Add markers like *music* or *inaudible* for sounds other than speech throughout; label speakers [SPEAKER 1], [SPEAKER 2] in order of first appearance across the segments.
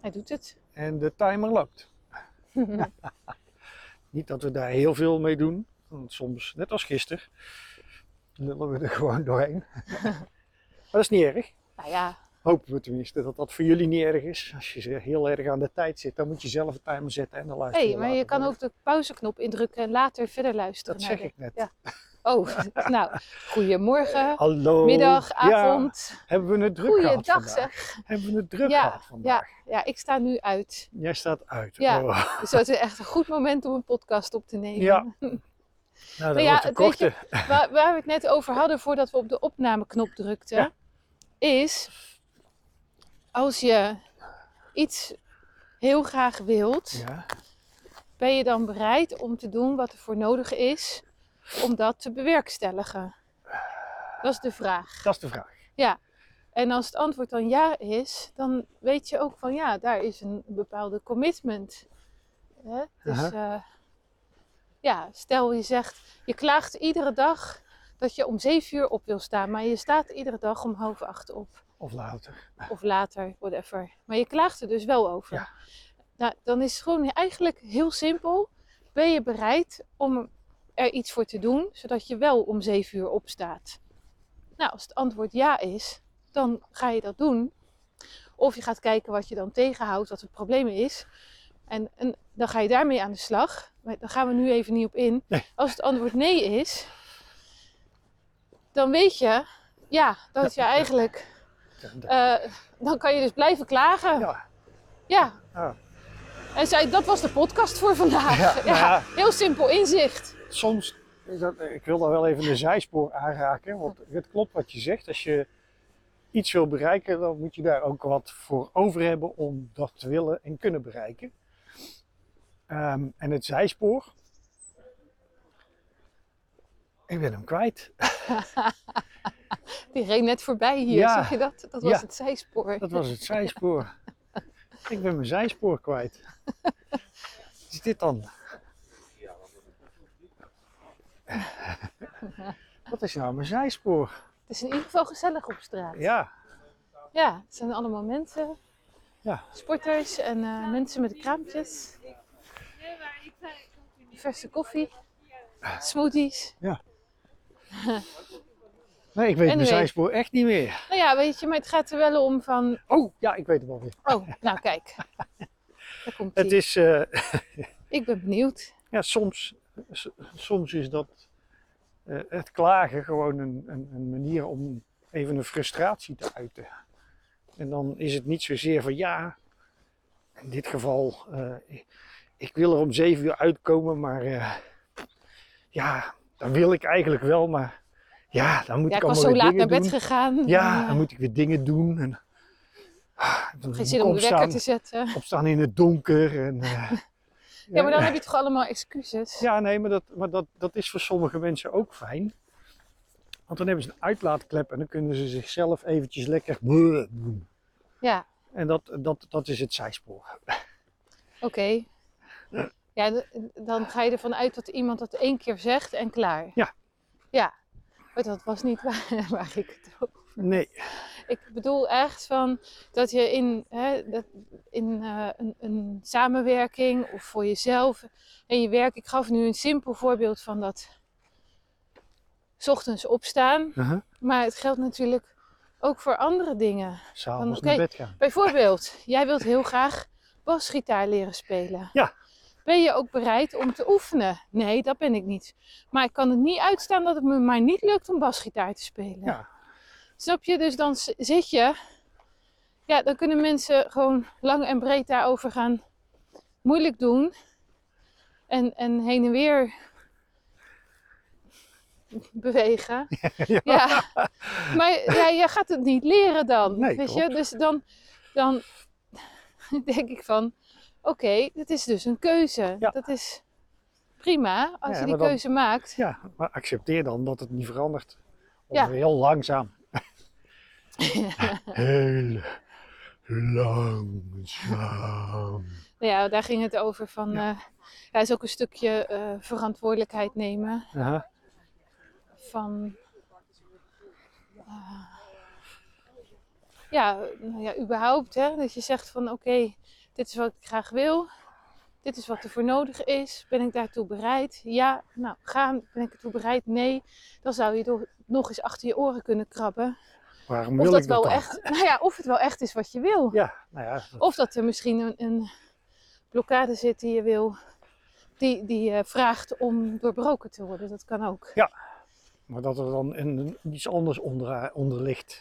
[SPEAKER 1] Hij doet het.
[SPEAKER 2] En de timer loopt. *laughs* Niet dat we daar heel veel mee doen. Want soms, net als gisteren, lullen we er gewoon *laughs* doorheen. maar dat is niet erg.
[SPEAKER 1] Nou ja,
[SPEAKER 2] Hopen we tenminste dat dat voor jullie niet erg is. Als je ze heel erg aan de tijd zit, dan moet je zelf een timer zetten en dan luister
[SPEAKER 1] hey, maar je
[SPEAKER 2] later
[SPEAKER 1] kan
[SPEAKER 2] terug.
[SPEAKER 1] ook de pauzeknop indrukken en later verder luisteren.
[SPEAKER 2] Dat
[SPEAKER 1] naar
[SPEAKER 2] zeg
[SPEAKER 1] de-
[SPEAKER 2] ik net.
[SPEAKER 1] Ja. Oh, *laughs* nou, goedemorgen,
[SPEAKER 2] Hallo.
[SPEAKER 1] middag,
[SPEAKER 2] Ja,
[SPEAKER 1] avond.
[SPEAKER 2] hebben we het druk gehad
[SPEAKER 1] Goeiedag
[SPEAKER 2] vandaag?
[SPEAKER 1] zeg.
[SPEAKER 2] Hebben we het druk
[SPEAKER 1] Ja,
[SPEAKER 2] gehad vandaag?
[SPEAKER 1] Ja, ik sta nu uit.
[SPEAKER 2] Jij staat uit.
[SPEAKER 1] Ja.
[SPEAKER 2] Oh.
[SPEAKER 1] Dus dat is echt een goed moment om een podcast op te nemen.
[SPEAKER 2] Ja. Nou, dat
[SPEAKER 1] ja,
[SPEAKER 2] wordt een
[SPEAKER 1] het weet je-
[SPEAKER 2] korte.
[SPEAKER 1] Waar, waar we het net over hadden voordat we op de opnameknop drukten,
[SPEAKER 2] Ja.
[SPEAKER 1] is als je iets heel graag wilt,
[SPEAKER 2] Ja.
[SPEAKER 1] ben je dan bereid om te doen wat er voor nodig is om dat te bewerkstelligen? Dat is de vraag.
[SPEAKER 2] Dat is de vraag.
[SPEAKER 1] En als het antwoord dan ja is, dan weet je ook van ja, daar is een bepaalde commitment. Hè? Dus eh, ja, stel je zegt, je klaagt iedere dag dat je om zeven uur op wil staan, maar je staat iedere dag om half acht op
[SPEAKER 2] Of later.
[SPEAKER 1] of later, whatever. Maar je klaagt er dus wel over.
[SPEAKER 2] Ja.
[SPEAKER 1] Nou, dan is het gewoon eigenlijk heel simpel. Ben je bereid om er iets voor te doen, zodat je wel om zeven uur opstaat? Nou, als het antwoord ja is, dan ga je dat doen. Of je gaat kijken wat je dan tegenhoudt, wat het probleem is. En, en dan ga je daarmee aan de slag. Maar daar gaan we nu even niet op in.
[SPEAKER 2] Nee.
[SPEAKER 1] Als het antwoord nee is, dan weet je ja, dat je eigenlijk. eh, dan kan je dus blijven klagen.
[SPEAKER 2] Ja. Ah.
[SPEAKER 1] Ja.
[SPEAKER 2] Ja.
[SPEAKER 1] En zei, dat was de podcast voor vandaag.
[SPEAKER 2] Ja, nou ja.
[SPEAKER 1] Heel simpel inzicht.
[SPEAKER 2] soms, is dat, ik wil daar wel even een zijspoor aanraken, want het klopt wat je zegt. Als je iets wil bereiken, dan moet je daar ook wat voor over hebben om dat te willen en kunnen bereiken. Ehm, en het zijspoor, ik ben hem kwijt.
[SPEAKER 1] Die reed net voorbij hier,
[SPEAKER 2] Ja.
[SPEAKER 1] zag je dat? Dat was
[SPEAKER 2] Ja.
[SPEAKER 1] het zijspoor.
[SPEAKER 2] Dat was het zijspoor. Ik ben mijn zijspoor kwijt. Wat is dit dan? Wat is nou mijn zijspoor?
[SPEAKER 1] Het is in ieder geval gezellig op straat.
[SPEAKER 2] Ja,
[SPEAKER 1] Ja, het zijn allemaal mensen.
[SPEAKER 2] Ja.
[SPEAKER 1] Sporters en eh, mensen met kraampjes. Verse koffie. Smoothies.
[SPEAKER 2] nee, ik weet
[SPEAKER 1] Anyway.
[SPEAKER 2] mijn zijspoor echt niet meer.
[SPEAKER 1] Nou ja, weet je, maar het gaat er wel om van...
[SPEAKER 2] Oh, ja, ik weet het wel weer.
[SPEAKER 1] Oh, nou
[SPEAKER 2] *laughs*
[SPEAKER 1] kijk. Daar komt
[SPEAKER 2] Het
[SPEAKER 1] ie.
[SPEAKER 2] is, eh,
[SPEAKER 1] Ik ben benieuwd.
[SPEAKER 2] ja, soms, s- soms is dat eh, het klagen gewoon een, een, een manier om even een frustratie te uiten. En dan is het niet zozeer van ja, in dit geval, eh, ik- ik wil er om zeven uur uitkomen, maar eh, ja, dat wil ik eigenlijk wel, maar ja, dan moet
[SPEAKER 1] Ja,
[SPEAKER 2] ik
[SPEAKER 1] ik was
[SPEAKER 2] allemaal
[SPEAKER 1] zo
[SPEAKER 2] weer
[SPEAKER 1] laat naar
[SPEAKER 2] dingen
[SPEAKER 1] bed
[SPEAKER 2] doen.
[SPEAKER 1] gegaan.
[SPEAKER 2] Ja,
[SPEAKER 1] En, eh,
[SPEAKER 2] dan moet ik weer dingen doen. En, ah, dan moet
[SPEAKER 1] geen
[SPEAKER 2] ik
[SPEAKER 1] zin om de
[SPEAKER 2] opstaan,
[SPEAKER 1] wekker te
[SPEAKER 2] *laughs*
[SPEAKER 1] zetten.
[SPEAKER 2] opstaan in het donker.
[SPEAKER 1] *laughs*
[SPEAKER 2] En, eh,
[SPEAKER 1] Ja, maar dan heb je toch allemaal excuses?
[SPEAKER 2] Ja, nee, maar, dat, maar dat, dat is voor sommige mensen ook fijn. Want dan hebben ze een uitlaatklep en dan kunnen ze zichzelf eventjes lekker brrr doen.
[SPEAKER 1] Ja,
[SPEAKER 2] En dat, dat, dat is het zijspoor.
[SPEAKER 1] oké. Ja, d- dan ga je ervan uit dat iemand dat één keer zegt en klaar.
[SPEAKER 2] Ja.
[SPEAKER 1] Ja, maar dat was niet *laughs* waar, waar ik het over...
[SPEAKER 2] Nee,
[SPEAKER 1] Ik bedoel echt van dat je in, hè, dat in eh, een, een samenwerking of voor jezelf en je werk... Ik gaf nu een simpel voorbeeld van dat 's ochtends opstaan.
[SPEAKER 2] uh-huh.
[SPEAKER 1] Maar het geldt natuurlijk ook voor andere dingen.
[SPEAKER 2] s'avonds
[SPEAKER 1] Oké.
[SPEAKER 2] naar bed gaan. *laughs*
[SPEAKER 1] Bijvoorbeeld, jij wilt heel graag basgitaar leren spelen.
[SPEAKER 2] Ja.
[SPEAKER 1] Ben je ook bereid om te oefenen? Nee, dat ben ik niet. Maar ik kan het niet uitstaan dat het me maar niet lukt om basgitaar te spelen.
[SPEAKER 2] Ja.
[SPEAKER 1] Snap je? Dus dan z- zit je. Ja, dan kunnen mensen gewoon lang en breed daarover gaan moeilijk doen. En, en heen en weer bewegen.
[SPEAKER 2] Ja.
[SPEAKER 1] Ja.
[SPEAKER 2] *laughs*
[SPEAKER 1] Maar ja, je gaat het niet leren dan.
[SPEAKER 2] Nee,
[SPEAKER 1] weet je?
[SPEAKER 2] klopt.
[SPEAKER 1] Dus dan, dan *laughs* denk ik van, oké, dit is dus een keuze.
[SPEAKER 2] Ja.
[SPEAKER 1] Dat is prima als
[SPEAKER 2] Ja,
[SPEAKER 1] je die
[SPEAKER 2] maar dan-
[SPEAKER 1] keuze maakt.
[SPEAKER 2] Ja, maar accepteer dan dat het niet verandert. Of
[SPEAKER 1] Ja.
[SPEAKER 2] heel
[SPEAKER 1] *laughs*
[SPEAKER 2] langzaam. heel langzaam.
[SPEAKER 1] Nou ja, daar ging het over van,
[SPEAKER 2] Ja.
[SPEAKER 1] ja. ja, is ook een stukje eh, verantwoordelijkheid nemen
[SPEAKER 2] Uh-huh.
[SPEAKER 1] van... eh, ja, nou ja, überhaupt. Hè? Dat je zegt van oké, dit is wat ik graag wil. Dit is wat er voor nodig is. Ben ik daartoe bereid? Ja, nou, gaan. Ben ik ertoe bereid? Nee. Dan zou je toch nog eens achter je oren kunnen krabben.
[SPEAKER 2] Waarom
[SPEAKER 1] Of
[SPEAKER 2] wil
[SPEAKER 1] dat
[SPEAKER 2] ik dat
[SPEAKER 1] wel
[SPEAKER 2] dan?
[SPEAKER 1] echt, nou ja, of het wel echt is wat je wil.
[SPEAKER 2] Ja, nou ja, dat-
[SPEAKER 1] Of dat er misschien een, een blokkade zit die je wil, die, die je vraagt om doorbroken te worden. Dat kan ook.
[SPEAKER 2] maar dat er dan een, een- iets anders onder, onder ligt.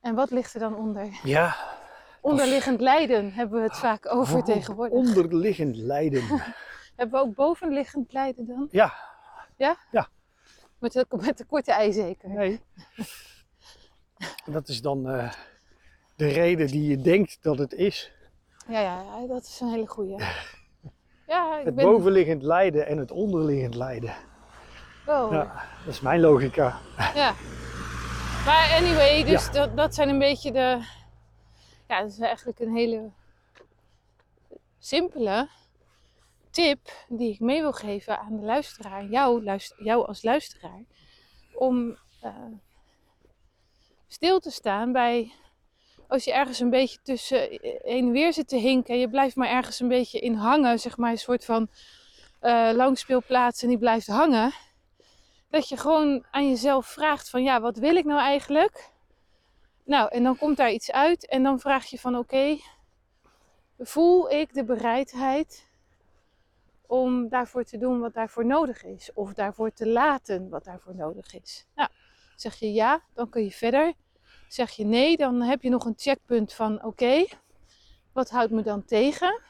[SPEAKER 1] En wat ligt er dan onder?
[SPEAKER 2] Ja,
[SPEAKER 1] Onderliggend lijden hebben we het vaak over
[SPEAKER 2] Oh,
[SPEAKER 1] tegenwoordig.
[SPEAKER 2] onderliggend
[SPEAKER 1] *laughs*
[SPEAKER 2] lijden.
[SPEAKER 1] Hebben we ook bovenliggend lijden dan?
[SPEAKER 2] ja,
[SPEAKER 1] Met de, met de korte ei zeker.
[SPEAKER 2] nee. Dat is dan eh, de reden die je denkt dat het is.
[SPEAKER 1] Ja, ja, ja, dat is een hele
[SPEAKER 2] *laughs*
[SPEAKER 1] goeie. Ja, ik
[SPEAKER 2] Het
[SPEAKER 1] ben...
[SPEAKER 2] bovenliggend lijden en het onderliggend lijden.
[SPEAKER 1] wow.
[SPEAKER 2] Ja, dat is mijn logica.
[SPEAKER 1] Ja. Maar anyway, dus dat, dat zijn een beetje de. Ja, dat is eigenlijk een hele simpele tip die ik mee wil geven aan de luisteraar, jou, luist- jou als luisteraar, om eh, stil te staan bij. Als je ergens een beetje tussen eh, heen en weer zit te hinken en je blijft maar ergens een beetje in hangen, zeg maar een soort van eh langspeelplaats en die blijft hangen dat je gewoon aan jezelf vraagt van ja, wat wil ik nou eigenlijk? Nou, en dan komt daar iets uit en dan vraag je van oké, voel ik de bereidheid om daarvoor te doen wat daarvoor nodig is? Of daarvoor te laten wat daarvoor nodig is? Nou, zeg je ja, dan kun je verder. Zeg je nee, dan heb je nog een checkpunt van oké, wat houdt me dan tegen?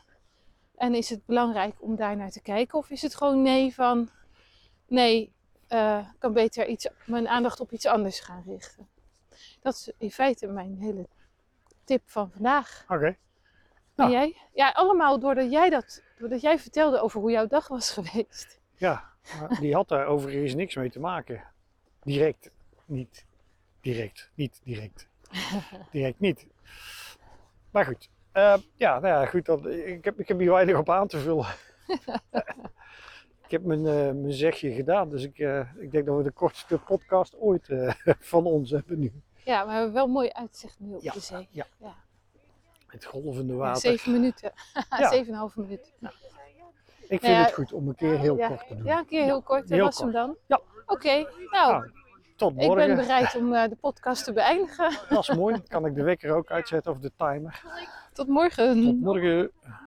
[SPEAKER 1] En is het belangrijk om daar naar te kijken? Of is het gewoon nee van nee, eh, ik kan beter iets, mijn aandacht op iets anders gaan richten. Dat is in feite mijn hele tip van vandaag.
[SPEAKER 2] Oké.
[SPEAKER 1] En
[SPEAKER 2] Nou.
[SPEAKER 1] jij? Ja, allemaal doordat jij, dat, doordat jij vertelde over hoe jouw dag was *laughs* geweest. *laughs*
[SPEAKER 2] Ja, maar die had daar overigens niks mee te maken. Direct niet. Direct niet
[SPEAKER 1] *laughs*
[SPEAKER 2] direct. Direct niet. Maar goed. Eh, ja, nou ja, goed. Dat, ik, heb, ik heb hier weinig op aan te vullen.
[SPEAKER 1] *laughs*
[SPEAKER 2] ik heb mijn, eh, mijn zegje gedaan, dus ik, eh, ik denk dat we de kortste podcast ooit eh, *laughs* van ons hebben nu.
[SPEAKER 1] Ja, maar we hebben wel een mooi uitzicht nu op
[SPEAKER 2] Ja,
[SPEAKER 1] de zee.
[SPEAKER 2] ja.
[SPEAKER 1] ja.
[SPEAKER 2] Het golvende
[SPEAKER 1] Ja,
[SPEAKER 2] water.
[SPEAKER 1] Zeven minuten. *laughs*
[SPEAKER 2] Ja.
[SPEAKER 1] Zeven en een half minuten.
[SPEAKER 2] ik vind
[SPEAKER 1] nou ja,
[SPEAKER 2] het goed om een keer heel
[SPEAKER 1] ja,
[SPEAKER 2] kort te doen.
[SPEAKER 1] Ja, een keer heel kort. Dat
[SPEAKER 2] heel
[SPEAKER 1] was hem dan.
[SPEAKER 2] Ja.
[SPEAKER 1] Oké, nou,
[SPEAKER 2] Nou, Tot
[SPEAKER 1] ik ben
[SPEAKER 2] morgen.
[SPEAKER 1] bereid om eh, de podcast te beëindigen.
[SPEAKER 2] Dat is mooi. Dan kan ik de wekker ook uitzetten of de timer.
[SPEAKER 1] Tot morgen.
[SPEAKER 2] Tot morgen.